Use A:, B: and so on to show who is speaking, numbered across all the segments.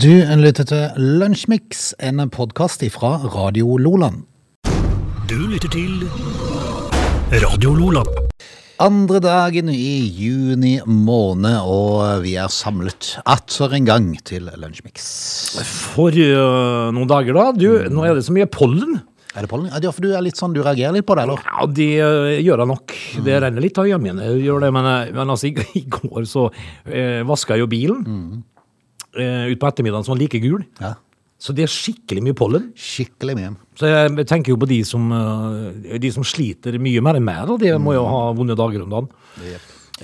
A: Du lytter til Lunsjmix, en podkast fra Radio Loland.
B: Du lytter til Radio Lola.
A: Andre dagen i juni måned, og vi er samlet atter en gang til Lunsjmix.
C: For øh, noen dager da, du,
A: Mm.
C: nå er det så mye pollen.
A: Er det pollen? Ja, det er for du er litt sånn, du reagerer litt på det, eller?
C: Ja, det øh, gjør jeg nok.
A: Mm.
C: Det renner litt av hjemmen, det gjør det, men, øh, men altså, i, i går så øh, vasket jeg jo bilen.
A: Mm.
C: Eh, ut på ettermiddagen så var den like gul.
A: Ja.
C: Så det er skikkelig mye pollen.
A: Skikkelig mye.
C: Så jeg tenker jo på de som, øh, de som sliter mye mer enn meg, da. De må jo
A: Mm.
C: ha vonde dager om dagen.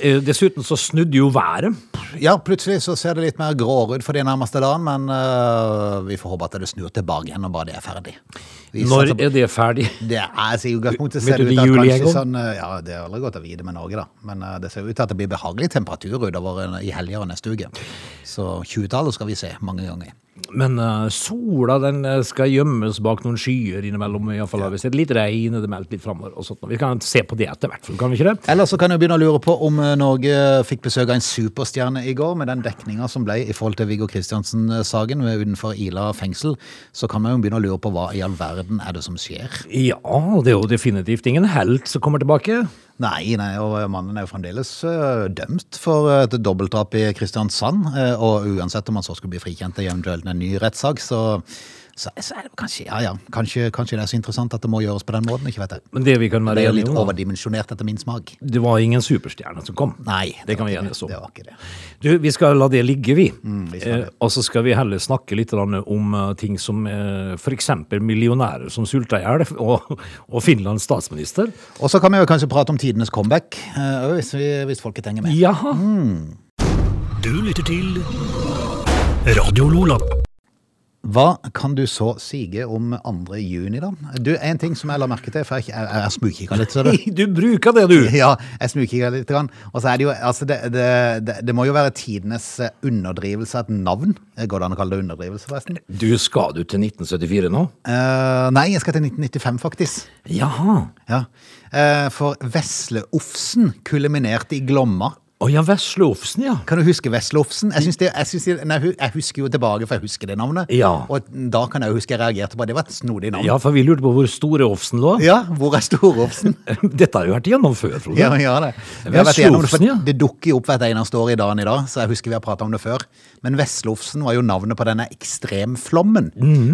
C: Eh, Dessuten så snudde jo været.
A: Ja, plutselig så ser det litt mer gråere ut for de nærmeste dagen, men øh, vi får håpe at det snur tilbake igjen når bare det er ferdig. Vi
C: Når
A: satser på-
C: er det ferdig?
A: Det er, altså, I utgangspunktet
C: Midt
A: ser det
C: ute i
A: ut til
C: juli
A: at
C: en
A: kanskje
C: gang.
A: sånn eh, Ja, det er aldri godt å vite med Norge, da. Men eh, det ser ut til at det blir behagelig temperatur utover eh, i helga og neste uke. Så 20-tallet skal vi se mange ganger.
C: Men eh, sola den eh, skal gjemmes bak noen skyer innimellom. I alle fall, Hvis det er litt regn, det melder litt framover. Og sånt. Vi kan se på det etter hvert, kan vi ikke det?
A: Eller så kan jeg begynne å lure på om eh, Norge fikk besøk av en superstjerne i går. Med den dekninga som ble i forhold til Viggo Kristiansen-saken ved- utenfor Ila fengsel, så kan man jo begynne å lure på hva i all verden er det som skjer.
C: Ja, det er jo definitivt ingen helt som kommer tilbake.
A: Nei, nei, og mannen er jo fremdeles eh, dømt for eh, et dobbeltdrap i Kristiansand. eh, og uansett om han så skulle bli frikjent i eventuelt en ny rettssak, så, så, så er det kanskje Ja, ja. Kanskje, kanskje det er så interessant at det må gjøres på den måten. Ikke vet jeg.
C: Men det vi kan
A: Det
C: være
A: er jo
C: enige
A: litt
C: om, da,
A: overdimensjonert etter min smak.
C: det var ingen superstjerne som kom.
A: Nei.
C: Det kan
A: var
C: vi
A: ikke
C: enes om.
A: Det var ikke det.
C: Du, vi skal la det ligge, vi.
A: Mm, vi skal
C: eh,
A: det.
C: og så skal vi heller snakke litt grann om eh, ting som eh, f.eks. millionærer som sulter i hjel, og, og Finlands statsminister.
A: Og så kan vi jo kanskje prate om tidenes comeback, eh, hvis, vi, hvis folket henger med.
C: Ja,
B: Du lytter til Radio Lola.
A: Hva kan du så sige om 2. juni, da? Du, En ting som jeg la merke til, for jeg, jeg, jeg smugkikka litt. ser du.
C: du bruker det, du!
A: Ja, jeg snukikker litt. grann. Og så er det jo, altså det, det, det, det må jo være tidenes eh, underdrivelse av et navn. Eh, Går det an å kalle det underdrivelse, forresten?
C: Du skal du til 1974 nå?
A: Eh, nei, jeg skal til 1995, faktisk.
C: Jaha.
A: Ja. Eh, for Vesle-Ofsen kuliminerte i Glomma.
C: Å ja, Vesle Ofsen, ja.
A: Kan du huske Vesle-Ofsen? Jeg, syns det- jeg, syns det- nei, hu- jeg husker jo tilbake, for jeg husker det navnet.
C: Ja.
A: Og da kan jeg jo huske jeg reagerte på det. Det var et snodig navn.
C: Ja, for vi lurte på hvor store Ofsen lå.
A: Ja, hvor er Store-Ofsen?
C: Dette har jo vært igjennom før, tror
A: Ja,
C: jeg.
A: vi gjør det. Vi har vært
C: Vesle
A: igjennom det,
C: Ofsen, ja.
A: for det dukker jo opp hvert eneste år i dagen i dag, så jeg husker vi har pratet om det før. Men Veslofsen var jo navnet på denne ekstremflommen.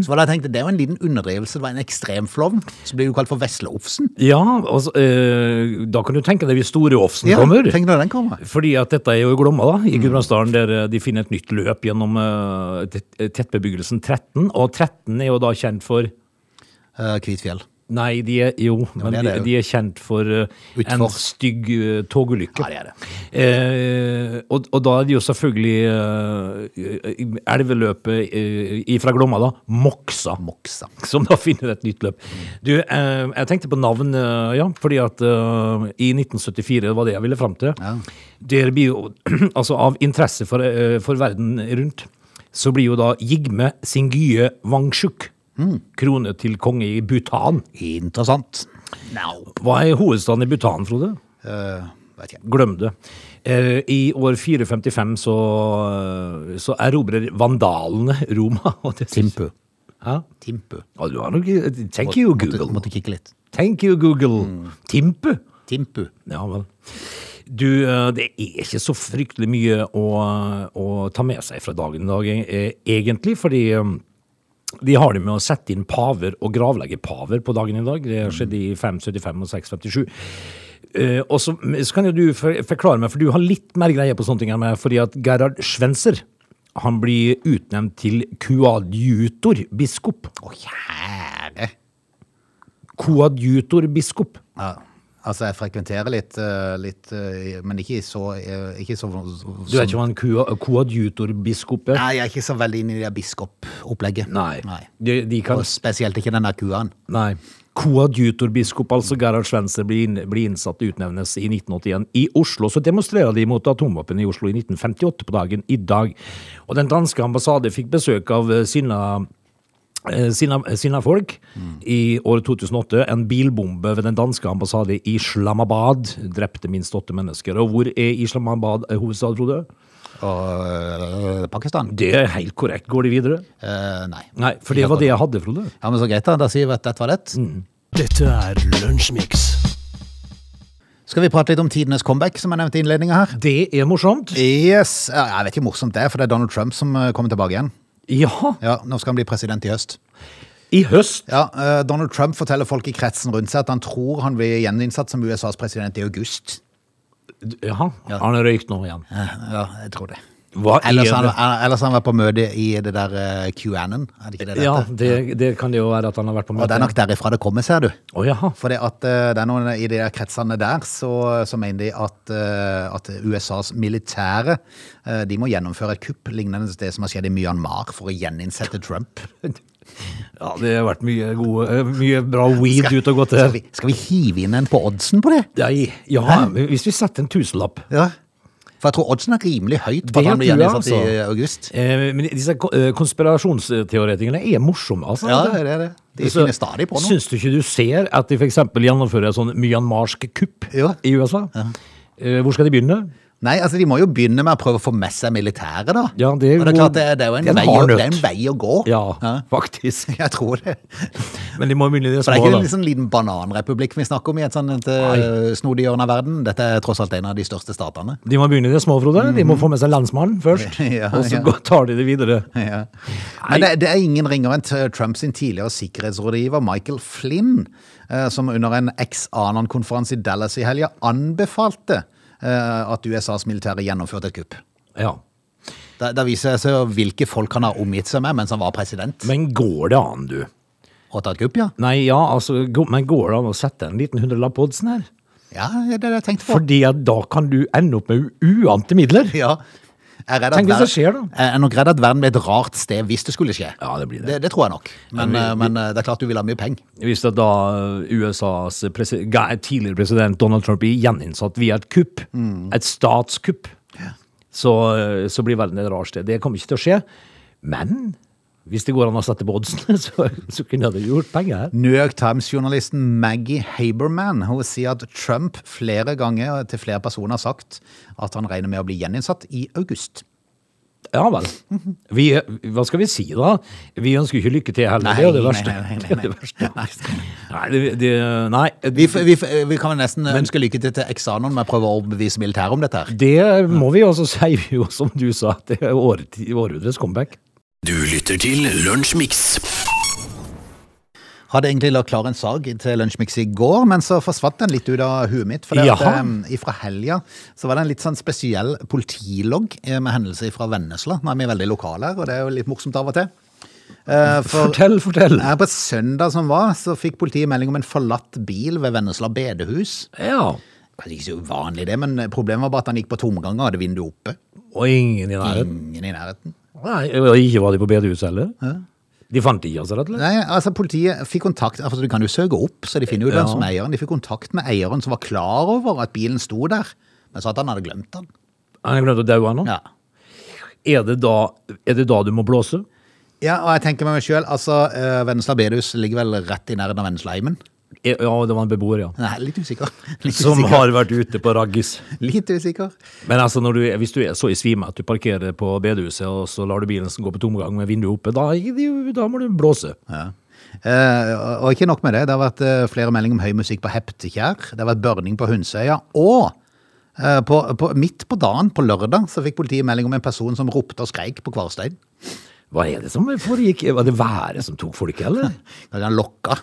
A: Så var det jeg tenkte, det er jo en liten underdrivelse, det var en ekstremflom, så blir det jo kalt for Veslofsen.
C: Ja, altså, eh, da kan du tenke deg hvis store Ofsen
A: Ja,
C: kommer.
A: tenk Mm. når den kommer.
C: Fordi at dette er jo i Glomma, da, i Gudbrandsdalen, der eh, de finner et nytt løp gjennom eh, tett- tettbebyggelsen 13. Og 13 er jo da kjent for
A: Eh, Kvitfjell.
C: Nei, de er jo, men
A: det er
C: de,
A: det jo.
C: de er kjent for eh, en
A: Utfor.
C: stygg eh, togulykke.
A: Ja, det er det.
C: Eh, og, og da er det jo selvfølgelig eh, elveløpet eh, fra Glomma, da. Moksa.
A: Moksa.
C: Som da finner et nytt løp. Du, eh, jeg tenkte på navn, eh, ja. Fordi at eh, i 1974, det var det jeg ville fram til.
A: Ja.
C: Der blir jo Altså, av interesse for, eh, for verden rundt, så blir jo da Jigme Singye Wangchuk
A: Mm.
C: krone til konge i Bhutan.
A: Interessant. Nå.
C: Hva er hovedstaden i Bhutan, Frode?
A: Eh, vet ikke.
C: Glem det. Eh, I år 455 så, eh, så erobrer vandalene Roma. og det-
A: Timpu.
C: Hæ?
A: Timpu.
C: Ja, du har nok eh, Thank you,
A: Måtte, Mm.
C: Google.
A: måtte kikke litt.
C: Thank you, Google. Timpu.
A: Timpu.
C: Ja vel. Du, eh, det er ikke så fryktelig mye å, å ta med seg fra dagen i dag, eh, egentlig, fordi eh, de har det med å sette inn paver og gravlegge paver på dagen i dag. Det skjedde i 575 og 657. Eh, og så, så kan jo du for, forklare meg, for du har litt mer greie på sånne ting enn meg, fordi at Gerhard Schwenzer han blir utnevnt til kuadjutor biskop.
A: Å, kjære.
C: Kuadjutor biskop.
A: Ja. Altså, jeg frekventerer litt, eh, litt eh, men ikke så, eh, ikke så
C: Du vet ikke hva en kua- kuadjutor biskop er?
A: Nei, jeg er ikke så veldig inne i det biskopopplegget.
C: De, de kan
A: Og spesielt ikke den der kuen.
C: Nei. Koadjutorbiskop, altså Gerhard Svenser, blir, inn, blir innsatt og utnevnes i 1981 i Oslo. Så demonstrerer de mot atomvåpen i Oslo i 1958 på dagen i dag. Og den danske ambassade fikk besøk av eh, sine eh, sine, sine folk i året 2008. En bilbombe ved den danske ambassade i Islamabad drepte minst åtte mennesker. Og hvor er Islamabad eh, hovedstad, Frode?
A: og eh, Pakistan.
C: Det er helt korrekt. Går de videre?
A: Eh, nei.
C: Nei, for det var det jeg hadde, Frode.
A: Ja, men så greit, da. Da sier vi at dette var lett.
C: Mm.
B: Dette er Lunsjmix.
A: Skal vi prate litt om tidenes comeback, som jeg nevnte i innledninga her?
C: Det er morsomt.
A: Yes. Ja, Jeg vet ikke hvor morsomt det er, for det er Donald Trump som eh, kommer tilbake igjen.
C: Ja,
A: Ja, Nå skal han bli president i høst.
C: i høst.
A: Ja, eh, Donald Trump forteller folk i kretsen rundt seg at han tror han blir gjeninnsatt som USAs president i august.
C: Jaha, han har røykt nå igjen.
A: Eh, Ja, jeg tror det.
C: Hva er
A: Ellers har
C: det?
A: han, ellers har han vært på møte i det der eh, QAnon, er det ikke det det
C: Ja,
A: heter?
C: det, det kan det jo være at han har vært på
A: Og det er
C: møte.
A: nok derifra det kommer, ser du.
C: Å jaha.
A: For det, at, eh, det er noen i de der kretsene der så, så mener de at, eh, at USAs militære eh, de må gjennomføre et kupp lignende det som har skjedd i Myanmar for å gjeninnsette Trump.
C: Ja, det har vært mye, gode, eh, mye bra weed ut og gått
A: Skal
C: her.
A: vi, skal vi hive inn en på oddsen på det?
C: Nei, ja, hvis vi setter en tusenlapp.
A: Ja. For jeg tror oddsen er rimelig høyt på at
C: Det
A: han blir
C: tror jeg,
A: gjeninnsatt i
C: altså.
A: august.
C: Eh, men disse ko- eh, konspirasjonsteoretikerne er morsomme, altså.
A: Ja, det er det. De
C: Så
A: finner stadig på noe.
C: Syns du ikke du ser at de f.eks. gjennomfører en sånn myanmarsk kupp
A: Ja.
C: i USA? Eh, Hvor skal de begynne?
A: Nei, altså De må jo begynne med å prøve å få med seg militæret, da.
C: Ja, det er
A: Men det er
C: jo-
A: klart, det, det er jo en,
C: det er en
A: vei,
C: hard
A: å-
C: nøtt.
A: det er en vei å gå.
C: Ja, faktisk.
A: Jeg tror det.
C: Men de må begynne i det
A: For det er
C: små,
A: ikke en
C: da.
A: liksom liten bananrepublikk vi snakker om i et sånt et, eh, snodig hjørne av verden. Dette er tross alt en av de største statene.
C: De må begynne i det små, Frode. De må få med seg landsmannen først,
A: Mhm. Ja,
C: og så
A: ja.
C: går- tar de det videre.
A: Ja. Men det, det er ingen ringere enn t- Trump sin tidligere sikkerhetsrådgiver Michael Flynn, eh, som under en ex-Anon-konferanse i Dallas i helga anbefalte eh, at USAs militære gjennomførte et kupp.
C: Ja.
A: Da, da viser det seg hvilke folk han har omgitt seg med mens han var president.
C: Men går det an, du?
A: Og tatt kupp, ja.
C: Nei, ja, altså, gå- men går det an å sette en liten hundrelapp på oddsen her?
A: Ja, det er det jeg tenkte på.
C: Fordi at da kan du ende opp med u- uante midler.
A: Ja. Jeg er redd
C: Tenk
A: at
C: hvis det skjer, da.
A: Jeg er nok redd at verden blir et rart sted hvis det skulle skje.
C: Ja, det blir det.
A: Det, tror jeg nok. Men, eh, men eh, det er klart du vil ha mye penger.
C: Hvis det da eh, USAs presi- ga- tidligere president Donald Trump blir gjeninnsatt via et kupp,
A: Mm.
C: et statskupp, så, så blir verden et rart sted. Det kommer ikke til å skje. Men hvis det går an å sette på oddsene, så, så kunne det gjort penger her.
A: New York Times-journalisten Maggie Haberman hun sier at Trump flere ganger til flere personer har sagt at han regner med å bli gjeninnsatt i august.
C: Ja vel. Vi, hva skal vi si da? Vi ønsker ikke lykke til heller. det er jo det
A: Nei,
C: verste.
A: nei, nei, nei,
C: Det er det verste. Nei, det, det, nei
A: Vi, f- vi, f- vi kan vel nesten ønske lykke til til eksamen med å prøve å overbevise militæret om dette. her.
C: det må vi også si, vi jo, som du sa, at det er året- århundrets comeback.
B: Du lytter til Lunsjmix.
A: Hadde egentlig lagt klar en sag til Lunsjmix i går, men så forsvant den litt ut av huet mitt. For det at,
C: Jaha.
A: eh, ifra helga så var det en litt sånn spesiell politilogg eh, med hendelser fra Vennesla. Nå er vi veldig lokale her, og det er jo litt morsomt av og til. Eh, For
C: Fortell, fortell.
A: eh, på søndag som var, så fikk politiet melding om en forlatt bil ved Vennesla bedehus.
C: Ja.
A: Kanskje ikke så uvanlig det, men problemet var bare at han gikk på tomgang og hadde vinduet oppe.
C: Og ingen i nærheten.
A: Ingen i nærheten.
C: Nei, og Ikke var de på bedehuset heller? De fant ikke oss, rett og slett?
A: Nei, altså Politiet fikk kontakt altså, Du kan jo søke opp, så de finner jo
C: Ja.
A: hvem som er eieren. De fikk kontakt med eieren som var klar over at bilen sto der, men sa at han hadde glemt den.
C: Han har glemt å daue nå?
A: Ja.
C: Er, det da, er det da du må blåse?
A: ja, og jeg tenker med meg sjøl altså, eh, Vennesla bedehus ligger vel rett i nærheten av Venneslaheimen?
C: Er- Ja, det var en beboer, ja.
A: Nei, litt usikker. Litt
C: Som
A: usikker.
C: har vært ute på raggis.
A: Litt usikker.
C: Men altså, når du, er- hvis du er så i svime at du parkerer på bedehuset, og så lar du bilen gå på tomgang med vinduet oppe, da, er det jo- da må du blåse.
A: Ja. Eh, og- og ikke nok med det. Det har vært eh, flere meldinger om høy musikk på Heptekjær. Det har vært børning på Hunsøya. Og eh, på, på, midt på dagen, på lørdag, så fikk politiet melding om en person som ropte og skreik på Kvarstein.
C: Hva er det som foregikk? Var det været som tok folk, eller?
A: Da han lokka.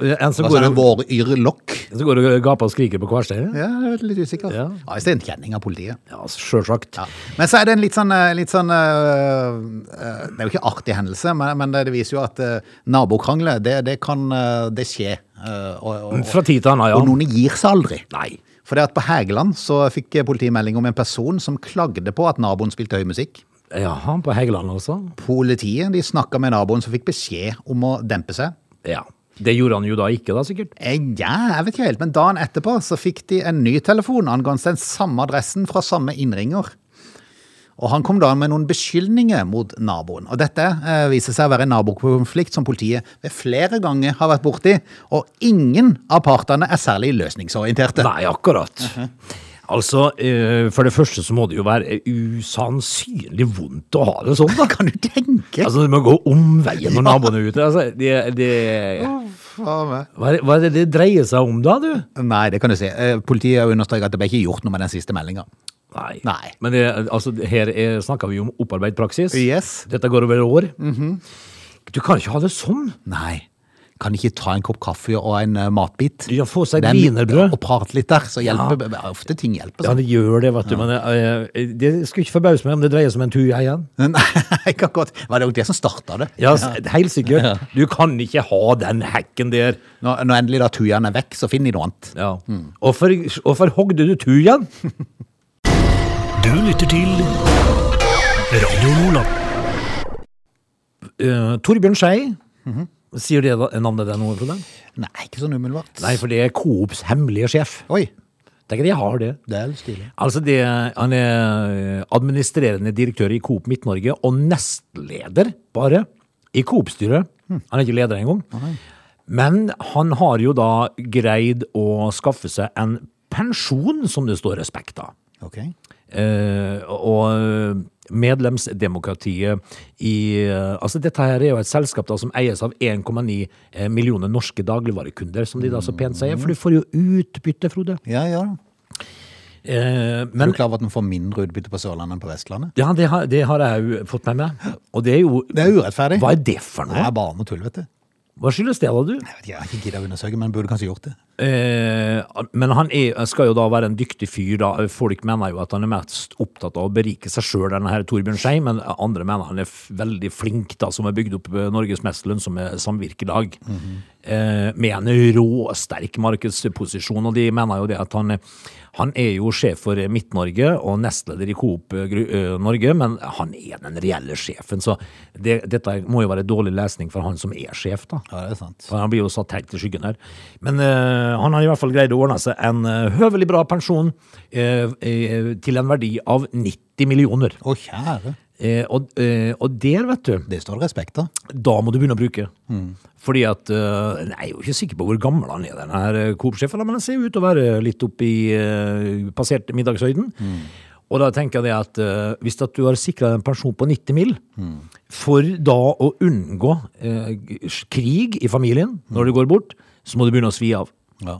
C: En som
A: Hva sa
C: går
A: du?
C: og,
A: Våryrlokk?
C: en som går og gaper og skriker på kvarsteinen?
A: Ja, jeg er litt usikker. Ja.
C: Ja.
A: Hvis det er en kjenning av politiet.
C: Ja, altså, sjølsagt.
A: Ja. Men så er det en litt sånn, eh, litt sånn eh, eh, Det er jo ikke artig hendelse, men, men det viser jo at eh, nabokrangler, det, det kan eh, det skje. eh, Og, og,
C: Fra tid til annen,
A: og
C: ja.
A: noen gir seg aldri.
C: Nei.
A: For det at på Hægeland så fikk eh, politiet melding om en person som klagde på at naboen spilte høy musikk.
C: Jaha, på Hegeland, altså?
A: Politiet de snakka med naboen som fikk beskjed om å dempe seg.
C: Ja. Det gjorde han jo da ikke, da, sikkert.
A: Eh, Ja, jeg vet ikke helt, men dagen etterpå så fikk de en ny telefon angående den samme adressen fra samme innringer. Og han kom da med noen beskyldninger mot naboen. Og dette eh, viser seg å være en nabokonflikt som politiet ved flere ganger har vært borti, og ingen av partene er særlig løsningsorienterte.
C: Nei, akkurat. Altså, eh, for det første så må det jo være usannsynlig vondt å ha det sånn, da.
A: Kan du tenke?
C: Altså, du må gå omveien når naboen er ute. Altså, det, det,
A: Faen meg.
C: hva, er, hva er det det dreier seg om da, du?
A: Nei, det kan du si. Eh, Politiet understreker at det ble ikke gjort noe med den siste meldinga.
C: Nei.
A: Nei.
C: Men det, altså, her er, snakker vi om opparbeidet praksis.
A: Yes.
C: Dette går over år. Mhm. Du kan ikke ha det sånn.
A: Nei. Kan ikke ta en kopp kaffe og en eh, matbit?
C: Ja, få seg et
A: Den-
C: wienerbrød.
A: Og prate litt der, så hjelper ofte ting hjelper.
C: Ja,
A: sånn.
C: det gjør det, vet du. Men eh, det skulle ikke forbause meg om det dreier seg om en tur jeg igjen.
A: Nei, ikke akkurat. Var det jo det som starta det?
C: Ja, s- helt sikkert. Du kan ikke ha den hekken der.
A: Når, når endelig da tujaen er vekk, så finner de noe annet.
C: Ja. Hvorfor, hvorfor hogde du tujaen?
B: Du lytter til Radio Nordland.
C: Eh, Torbjørn Skei. Sier det da, navnet deg noe, Frode?
A: Nei, ikke sånn umiddelbart.
C: Nei, for det er Coops hemmelige sjef.
A: Oi,
C: Tenk at jeg har det.
A: det er jo stilig.
C: Altså det, Han er eh, administrerende direktør i Coop Midt-Norge, og nestleder bare i Coop-styret. Han er ikke leder engang. Men han har jo da greid å skaffe seg en pensjon som det står respekt av.
A: Ok.
C: Eh, og medlemsdemokratiet i eh, Altså, dette her er jo et selskap da som eies av 1,9 eh, millioner norske dagligvarekunder, som de da så pent sier. For du får jo utbytte, Frode.
A: Ja, ja.
C: Eh,
A: Er
C: men
A: du klar over at man får mindre utbytte på Sørlandet enn på Vestlandet?
C: Ja, det har, det har jeg jo fått med meg. Og det er jo
A: Det er urettferdig.
C: Hva er det for
A: Det
C: noe?
A: er bare noe tull, vet du.
C: Hva skyldes det, da, du?
A: Jeg vet ikke, jeg har ikke giddet å undersøke, men burde kanskje gjort det.
C: Eh, men han er, skal jo da være en dyktig fyr, da. Eh, Folk mener jo at han er mest opptatt av å berike seg sjøl, denne her Torbjørn Skei, men eh, andre mener han er f- veldig flink, da, som har bygd opp eh, Norges mest lønnsomme samvirkelag. eh, med en råsterk markedsposisjon, og de mener jo det at han han er jo sjef for Midt-Norge og nestleder i Coop eh, Gru- eh, Norge, men han er den reelle sjefen, så det, dette må jo være dårlig lesning for han som er sjef, da.
A: Ja, det er sant.
C: For han blir jo satt helt i skyggen her. Men eh, han har i hvert fall greid å ordne seg en eh, høvelig bra pensjon eh, eh, til en verdi av 90 millioner.
A: Å, kjære.
C: Eh, og, eh, og der, vet du,
A: Det står det respekt av.
C: da må du begynne å bruke.
A: Mm.
C: Fordi at eh, Jeg er jo ikke sikker på hvor gammel han er, denne her eh, Coop-sjefen, men han ser jo ut til å være litt oppi eh, passert middagshøyden.
A: Mm.
C: Og da tenker jeg det at eh, hvis at du har sikra en pensjon på 90 mill.,
A: Mm.
C: for da å unngå eh, g- krig i familien når du går bort, så må du begynne å svi av.
A: Ja.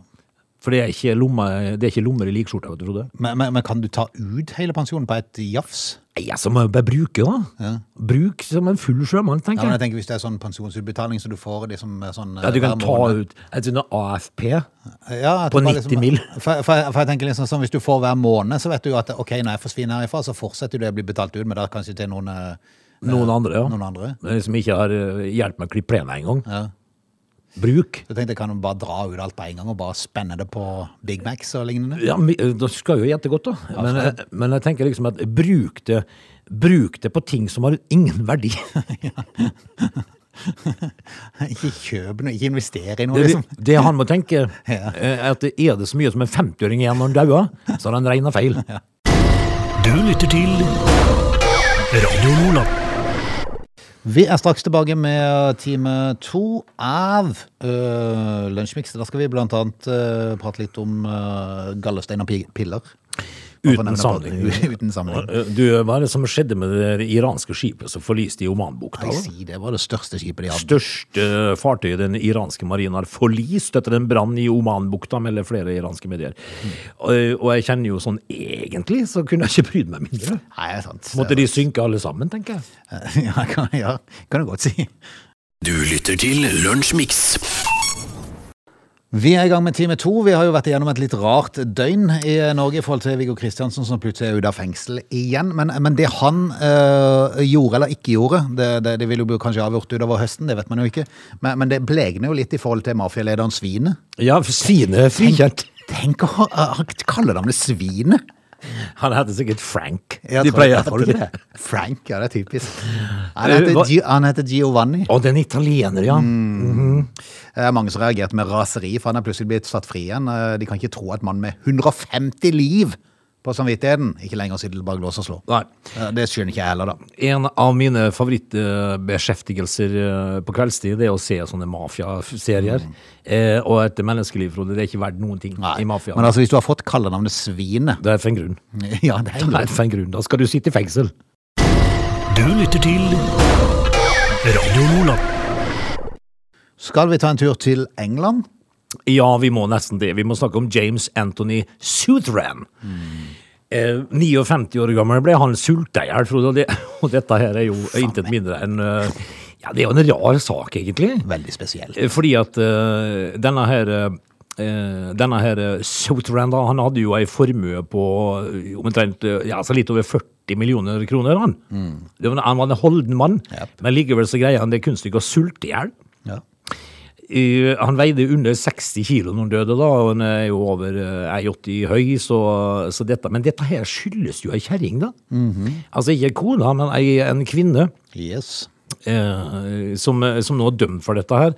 C: For det er ikke, lomme, det er ikke lommer i likskjorta, vet du, Frode.
A: Men, men, men kan du ta ut hele pensjonen på et jafs?
C: Nei, altså, må jeg bare bruke, da. Bruk som en full sjømann,
A: Ja,
C: tenker
A: men
C: jeg.
A: jeg tenker Hvis det er sånn pensjonsutbetaling så du får liksom sånn
C: Ja, du kan ta
A: måned.
C: ut et sånt AFP.
A: Ja, at
C: På
A: det var liksom-
C: 90 mil.
A: For, for, for jeg tenker liksom sånn, Hvis du får hver måned, så vet du jo at ok, når jeg forsvinner herifra, så fortsetter jo det å bli betalt ut, men da kanskje til noen, eh,
C: Noen andre, ja.
A: noen andre.
C: Men Som ikke har eh, hjulpet meg å klippe plenen engang.
A: Ja.
C: Bruk.
A: Så tenkte jeg kan jo bare dra ut alt på en gang og bare spenne det på Big Macs og lignende.
C: Ja, men, eh, Da skal jeg jo gjette godt, da. Men, eh, men jeg tenker liksom at bruk det, bruk det på ting som har ingen verdi.
A: Ikke kjøp noe, ikke investere i noe,
C: Det,
A: liksom.
C: det han må tenke,
A: Ja.
C: eh, er at det er det så mye som en 50-åring igjen når han dauer, så har han regna feil.
B: Du lytter til Radio Nordland.
A: Vi er straks tilbake med eh, time to av uh, Lunsjmix. Da skal vi blant annet eh, prate litt om eh, gallestein og pi- piller.
C: Uten
A: Hvorfor nevner jeg
C: sammenligning.
A: det? Uten sammenligning.
C: Eh, Du, Hva er det som skjedde med det der iranske skipet som forliste i Omanbukta?
A: Jeg
C: da?
A: sier det var det største skipet de hadde.
C: Største fartøyet den iranske marinen har forlist etter en brann i Omanbukta, melder flere iranske medier. Og, og jeg kjenner jo sånn egentlig, så kunne jeg ikke brydd meg mindre.
A: Nei, det er sant.
C: Måtte de synke alle sammen, tenker jeg.
A: Ja, kan, ja, kan du godt si.
B: Du lytter til Lunsjmix.
A: Vi er i gang med time to. Vi har jo vært igjennom et litt rart døgn i Norge i forhold til Viggo Kristiansen, som plutselig er ute av fengsel igjen. Men, men det han øh, gjorde eller ikke gjorde, det, det, det vil jo bli kanskje avgjort utover høsten, det vet man jo ikke. Men, men det blegner jo litt i forhold til mafialederen Svine.
C: Ja, Svine er frikjent.
A: Tenk å ha- ha- kalle navnet Svine!
C: Han heter sikkert Frank.
A: Jeg
C: de
A: tror-
C: pleier
A: jeg tror
C: folk det.
A: Frank, ja, det er typisk. Han heter,
C: Hva-
A: Gi- han heter Giovanni.
C: Og den italiener, ja.
A: Mm. Det er mange som Eh, reagerte med raseri, for han er plutselig blitt satt fri igjen. Eh, De kan ikke tro at mann med 150 liv på samvittigheten. Ikke lenger sitte bak lås og slå.
C: Nei.
A: Eh, Det skjønner ikke jeg heller, da.
C: En av mine favorittbeskjeftigelser eh, på kveldstid det er å se sånne mafiaserier.
A: Mm.
C: Eh, og et menneskeliv, Frode, det er ikke verdt noen ting i mafia.
A: Men altså, hvis du har fått kallenavnet Svinet
C: Det er for en grunn.
A: Ja, det er en
C: Det
A: grunn.
C: er for en grunn. Da skal du sitte i fengsel.
B: Du lytter til Radio Nordland.
A: Skal vi ta en tur til England?
C: Ja, vi må nesten det. Vi må snakke om James Anthony Suthran. Eh, 59 år gammel ble han sulta i hjel, Frode. Og, det, og dette her er jo intet mindre enn eh, Ja, det er jo en rar sak, egentlig.
A: Veldig spesiell.
C: Eh, Fordi at eh, denne her eh, denne her eh, Suthran, da, han hadde jo ei formue på eh, omtrent eh, ja, altså litt over 40 millioner kroner. Han, det var, han var en holden mann,
A: Japp.
C: men likevel så greier han det kunststykket å sulte i hjel.
A: Ja.
C: Eh, Han veide under 60 kilo når han døde, da, og han er jo over eh, 1,80 høy, så, så dette Men dette her skyldes jo ei kjerring, da.
A: Mhm.
C: Altså ikke ei kone, men ei, en kvinne
A: Yes.
C: eh, som, som nå er dømt for dette her.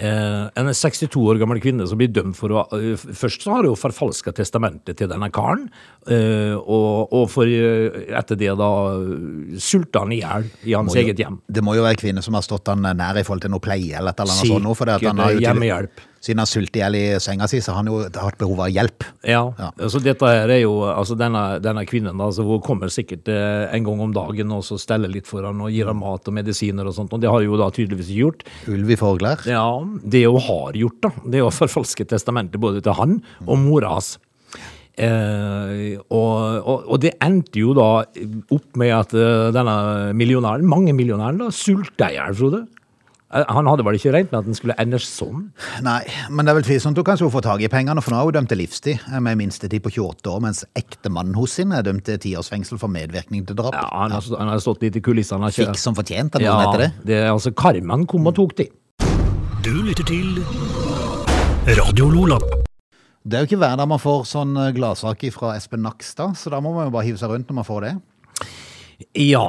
C: Eh, en 62 år gammel kvinne som blir dømt for å eh, f- Først så har hun forfalska testamentet til denne karen, eh, og, og for eh, etter det da eh, sulta han i hjel i hans
A: jo-
C: eget hjem.
A: Det må jo være kvinne som har stått han nær i forhold til noe pleie eller et eller annet sånt. nå, fordi at han
C: Sikkert
A: har jo tydelig-
C: hjemmehjelp.
A: Siden han sultet i hjel i senga si, så har han jo hatt behov av hjelp.
C: Ja,
A: Ja.
C: altså dette her er jo altså denne, denne kvinnen da, så hun kommer sikkert eh, en gang om dagen og så steller litt for han og gir han mat og medisiner og sånt, og det har hun jo da tydeligvis ikke gjort.
A: Ulv i forklær.
C: Ja, det hun har gjort da, det er å forfalske testamentet både til han og mora hans. Eh, og, og, og det endte jo da opp med at eh, denne millionæren, mange millionæren da, sulta i hjel, Frode. Eh, Han hadde vel ikke regnet med at den skulle ende sånn?
A: Nei, men det er vel tvilsomt. Du kan jo få tak i pengene, for nå er hun dømt til livstid eh, med minstetid på 28 år, mens ektemannen hos sin er dømt til 10 års fengsel for medvirkning til drap.
C: Ja, han har, han har stått litt i kulissene. han har ikke-
A: Fikk som fortjent, eller noe heter det.
C: er altså Karman kom og tok de.
B: Du lytter til Radio Nordland.
A: Det er jo ikke hver dag man får sånn eh, gladsak fra Espen Nakstad, så da må man jo bare hive seg rundt når man får det.
C: Ja,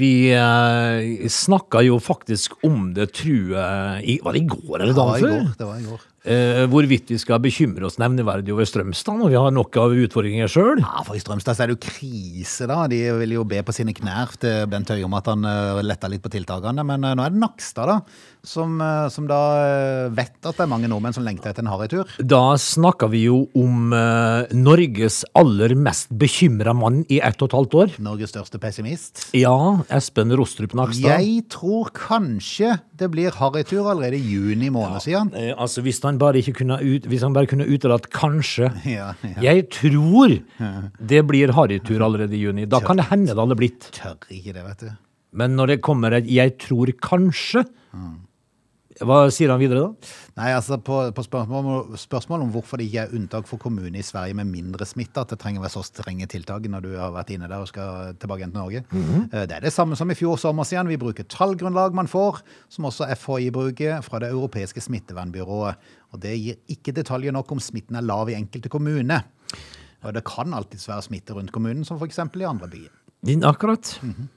C: vi eh, snakka jo faktisk om det, tror jeg, i- var det i går eller
A: Det var
C: dagen
A: i
C: før?
A: går. Det var i går.
C: Eh, hvorvidt vi skal bekymre oss nevneverdig over Strømstad når vi har nok av utfordringer sjøl.
A: Ja, for i Strømstad så er det jo krise, da. De vil jo be på sine knær til Bent Høie om at han eh, letter litt på tiltakene. Men eh, nå er det Nakstad, da, som, eh, som da eh, vet at det er mange nordmenn som lengter etter en harrytur.
C: Da snakka vi jo om eh, Norges aller mest bekymra mann i ett og et halvt år.
A: Norges største pessimist.
C: Ja, Espen Rostrup Nakstad.
A: Jeg tror kanskje det blir harrytur allerede i juni måned, sier han.
C: Eh, altså, hvis han bare ikke kunne ut, Hvis han bare kunne utelatt kanskje
A: Ja, ja.
C: Jeg tror det blir harrytur allerede i juni. Da kan det hende det hadde blitt.
A: Tør ikke det, vet du.
C: Men når det kommer et 'jeg tror kanskje'
A: Mm.
C: Hva sier han videre, da?
A: Nei, altså På, på spørsmål, om- spørsmål om hvorfor det ikke er unntak for kommuner i Sverige med mindre smitte, at det trenger å være så strenge tiltak når du har vært inne der og skal tilbake igjen til Norge. Eh, Det er det samme som i fjor sommer, sier han. Vi bruker tallgrunnlag man får, som også FHI bruker fra det europeiske smittevernbyrået. Og det gir ikke detaljer nok om smitten er lav i enkelte kommune. Og det kan alltids være smitte rundt kommunen, som f.eks. i andre byer.
C: Din akkurat.
A: Mm.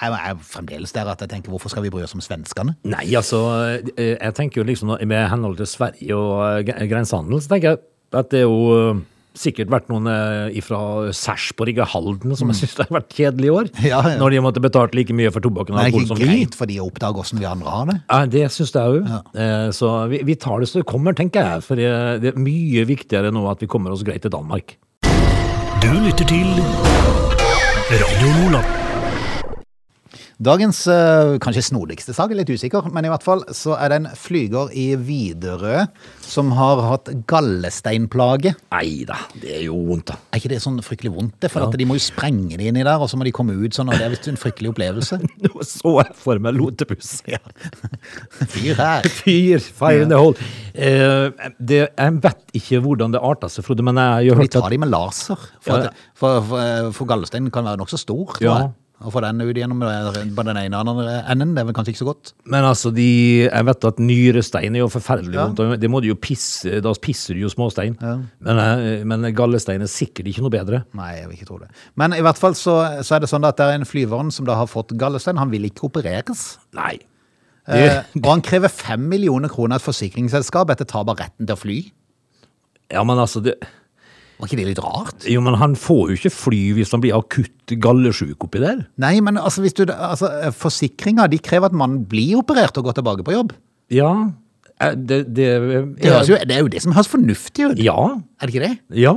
A: Jeg er fremdeles der at jeg tenker hvorfor skal vi bry oss om svenskene?
C: Nei, altså eh, Jeg tenker jo liksom nå med henhold til Sverige og eh, gre- grensehandel, så tenker jeg at det er jo eh, sikkert vært noen fra Sarpsborg og Halden som jeg syns har vært kjedelig i år.
A: Mm. Ja, ja.
C: Når de måtte betalt like mye for tobakken og
A: Men det er
C: alkohol som
A: ikke
C: vi.
A: greit for de å oppdage åssen vi andre har det.
C: Ja, det syns jeg òg. Så vi, vi tar det så det kommer, tenker jeg. For det, det er mye viktigere nå at vi kommer oss greit til Danmark.
B: Du lytter til Radio Nordland.
A: Dagens eh, kanskje snodigste sak, jeg er litt usikker, men i hvert fall så er det en flyger i Widerøe som har hatt gallesteinplage.
C: Nei da, det er jo vondt, da.
A: Er ikke det sånn fryktelig vondt? det? For at de må jo sprenge det inni der, og så må de komme ut sånn, og det er visst en fryktelig opplevelse.
C: Nå så jeg for meg lotepus.
A: Fyr her.
C: Fyr, fire in the hole. Eh, det, jeg vet ikke hvordan det arta seg, Frode, men jeg har
A: Vi
C: hørt at
A: tar de med laser, for,
C: Ja.
A: at, for, eh, for, for gallestein kan være nokså stor. tror
C: Ja.
A: jeg. Å få den ut gjennom eh, på den ene og andre enden, det er vel kanskje ikke så godt.
C: Men altså, de, jeg vet at nyrestein er jo forferdelig vondt. og Det må du jo pisse Da pisser du jo småstein. Men, eh, men gallestein er sikkert ikke noe bedre.
A: Nei, jeg vil ikke tro det. Men i hvert fall så, så er det sånn at det er en flyveren som da har fått gallestein. Han vil ikke opereres.
C: Nei. Det,
A: Eh, og han krever fem millioner kroner av et forsikringsselskap etter tap av retten til å fly.
C: Ja, men altså det,
A: Var ikke det litt rart?
C: Jo, men han får jo ikke fly hvis han blir akutt gallesjuk oppi der.
A: Nei, men altså, hvis du, altså, forsikringa de krever at mannen blir operert og går tilbake på jobb.
C: Ja, eh, det, det,
A: Det, høres jo, det er jo det som høres fornuftig ut.
C: Ja,
A: Er det ikke det?
C: ja.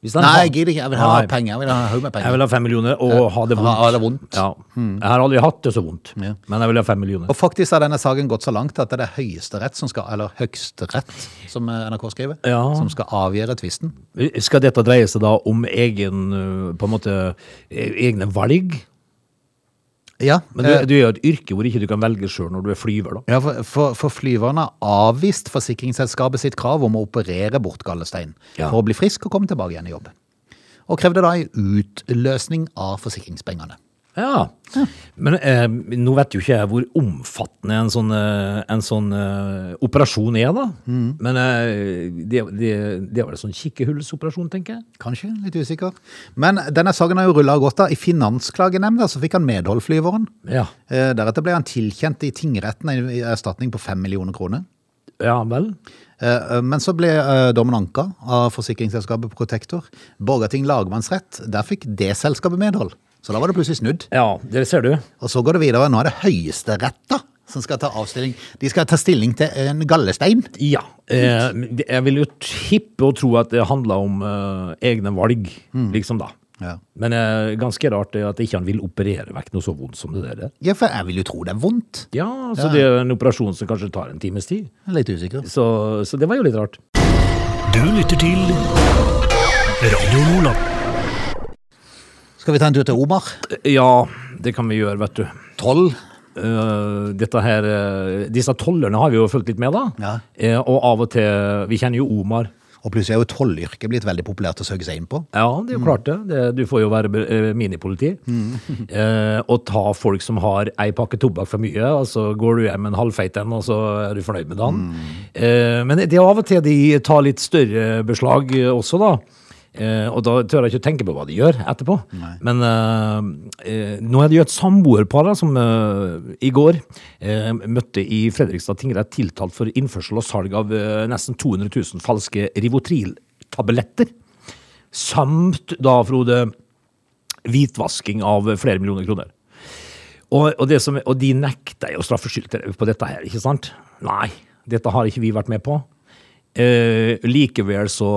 C: Hvis han
A: Nei,
C: har-
A: jeg gidder ikke. Jeg vil ha
C: Nei.
A: penger. Jeg vil ha en haug med
C: Jeg
A: penger.
C: vil ha fem millioner og ha det
A: ha-
C: vondt.
A: ha det vondt. Hmm.
C: Ja. Jeg har aldri hatt det så vondt,
A: Ja.
C: men jeg vil ha fem millioner.
A: Og faktisk har denne saken gått så langt at det er Høyesterett som skal, eller Høgsterett, som eh, NRK skriver,
C: Ja.
A: som skal avgjøre tvisten.
C: Skal dette dreie seg da om egen, øh, på en måte, e- egne valg?
A: Ja,
C: Men du,
A: eh,
C: du er jo et yrke hvor ikke du kan velge sjøl når du er flyver, da.
A: Ja, for, for, for flyverne har avvist forsikringsselskapet sitt krav om å operere bort gallestein
C: Ja.
A: for å bli frisk og komme tilbake igjen i jobb. Og krevde da en utløsning av forsikringspengene.
C: Ja. Men eh, nå vet jo ikke jeg hvor omfattende en sånn, eh, en sånn eh, operasjon er, da. Men eh, det, det, det var en sånn kikkehullsoperasjon, tenker jeg.
A: Kanskje, litt usikker. Men denne saken har jo rulla godt av. I Finansklagenemnda så fikk han medhold, flyveren.
C: Ja,
A: Eh, Deretter ble han tilkjent i tingretten en erstatning på fem millioner kroner.
C: ja vel.
A: Eh, Men så ble eh, dommen anka av forsikringsselskapet Protector. Borgarting lagmannsrett, der fikk det selskapet medhold. Så da var det plutselig snudd.
C: Ja, det ser du.
A: Og så går det videre. Nå er det Høyesterett da, som skal ta avstilling. De skal ta stilling til en gallestein.
C: Ja. Eh, men det- jeg vil jo tippe og tro at det handler om eh, egne valg, liksom, da.
A: Ja.
C: Men eh, ganske rart eh, at ikke han vil operere vekk noe så vondt som det der. er.
A: Ja, for jeg vil jo tro det er vondt.
C: Ja, så det er en operasjon som kanskje tar en times tid.
A: Jeg er litt usikker.
C: Så, så det var jo litt rart.
B: Du lytter til Radio Lola.
A: Skal vi ta en tur til Omar?
C: Eh, Ja, det kan vi gjøre, vet du.
A: Troll.
C: Eh, dette her, eh, disse tollerne har vi jo fulgt litt med, da.
A: Ja.
C: Eh, og av og til Vi kjenner jo Omar.
A: Og plutselig er jo tollyrket blitt veldig populært å søke seg inn på.
C: Ja, det er jo klart det. det. Du får jo være eh, minipoliti. eh, og ta folk som har ei pakke tobakk for mye, og så går du hjem med en halvfeit en, og så er du fornøyd med dagen. Eh, men det er av og til de tar litt større beslag eh, også, da. Eh, og da tør jeg ikke å tenke på hva de gjør etterpå. Men eh, eh, nå er det jo et samboerpar da, som eh, i går eh, møtte i Fredrikstad tingrett tiltalt for innførsel og salg av eh, nesten 200 000 falske Rivotril-tabletter. Samt da, Frode, hvitvasking av flere millioner kroner. Og, og, det som, og de nekter jo straffskyld på dette her, ikke sant? Nei, dette har ikke vi vært med på. Eh, likevel så,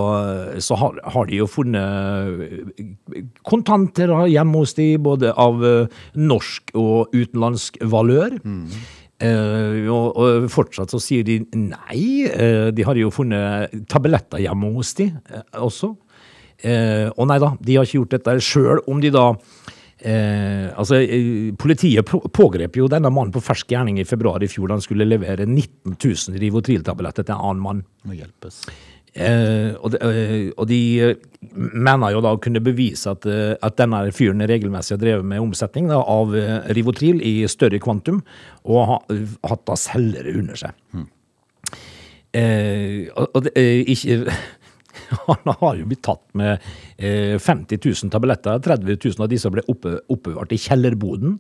C: så har, har de jo funnet kontanter hjemme hos de, både av eh, norsk og utenlandsk valør. Eh, og, og fortsatt så sier de nei. Eh, de har jo funnet tabletter hjemme hos de eh, også. Eh, og nei da, de har ikke gjort dette sjøl, om de da eh, Altså, eh, politiet på- pågrep jo denne mannen på fersk gjerning i februar i fjor da han skulle levere 19 000 Rivotril-tabletter til en annen mann.
A: Må hjelpes.
C: Eh, og, de, eh, og de eh, mener jo da å kunne bevise at, eh, at denne fyren regelmessig har drevet med omsetning da, av eh, Rivotril i større kvantum, og ha, eh, hatt da selgere under seg. Eh, og, og det, eh, ikke, han har jo blitt tatt med eh, 50 000 tabletter. 30 000 av disse ble oppe, oppbevart i kjellerboden.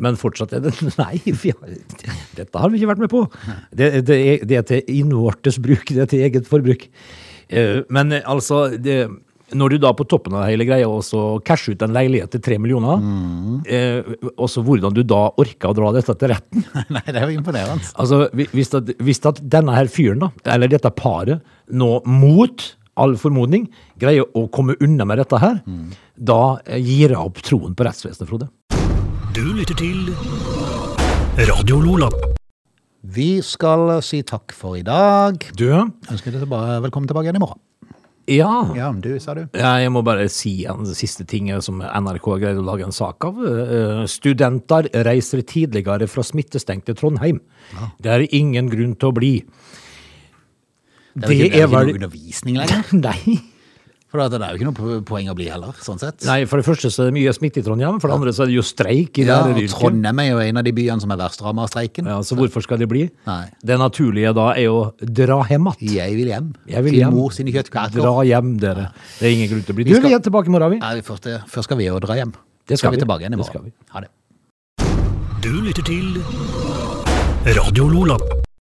C: Men fortsatt er det Nei, vi har, dette har vi ikke vært med på. Det, det, er, det er til innvortes bruk, det er til eget forbruk. Eh, men eh, altså det, Når du da på toppen av hele greia også casher ut en leilighet til tre millioner, eh, også hvordan du da orker å dra dette til retten
A: Nei, det er jo imponerende.
C: Altså, hvi- hvis at, hvis at denne her fyren, da, eller dette paret, nå mot all formodning greier å komme unna med dette her, da eh, gir jeg opp troen på rettsvesenet, Frode.
B: Du lytter til Radio Lola.
A: Vi skal si takk for i dag.
C: Du?
A: Ønsker dere bare velkommen tilbake igjen i morgen.
C: Ja.
A: Ja, du, sa du.
C: Jeg må bare si en siste ting eh, som NRK har greid å lage en sak av. Eh, Studenter reiser tidligere fra smittestengte Trondheim. Det er ingen grunn til å bli.
A: Det er jo ikke, det er jo ikke
C: vel-
A: noe undervisning lenger.
C: Nei.
A: For det er jo ikke noe poeng å bli heller, sånn sett.
C: Nei, for det første så er det mye smitte i Trondheim, for det andre så er det jo streik i
A: ja,
C: det her
A: og
C: yrket.
A: Trondheim er jo en av de byene som er verst rammet av streiken.
C: Ja, så hvorfor skal det bli?
A: Nei.
C: Det naturlige da er å dra hjem igjen.
A: Jeg vil hjem.
C: Jeg vil
A: til
C: hjem.
A: mor sine kjøttkaker.
C: Dra hjem, dere. Det er ingen grunn til å bli.
A: Vi
C: Du,
A: skal-
C: vi er tilbake i morgen, vi.
A: Nei, først, først skal vi jo dra hjem.
C: Det skal
A: vi
C: vi.
A: tilbake igjen i
C: Det
A: morgen.
C: skal vi.
A: Ha det.
B: Du lytter til Radio Lola.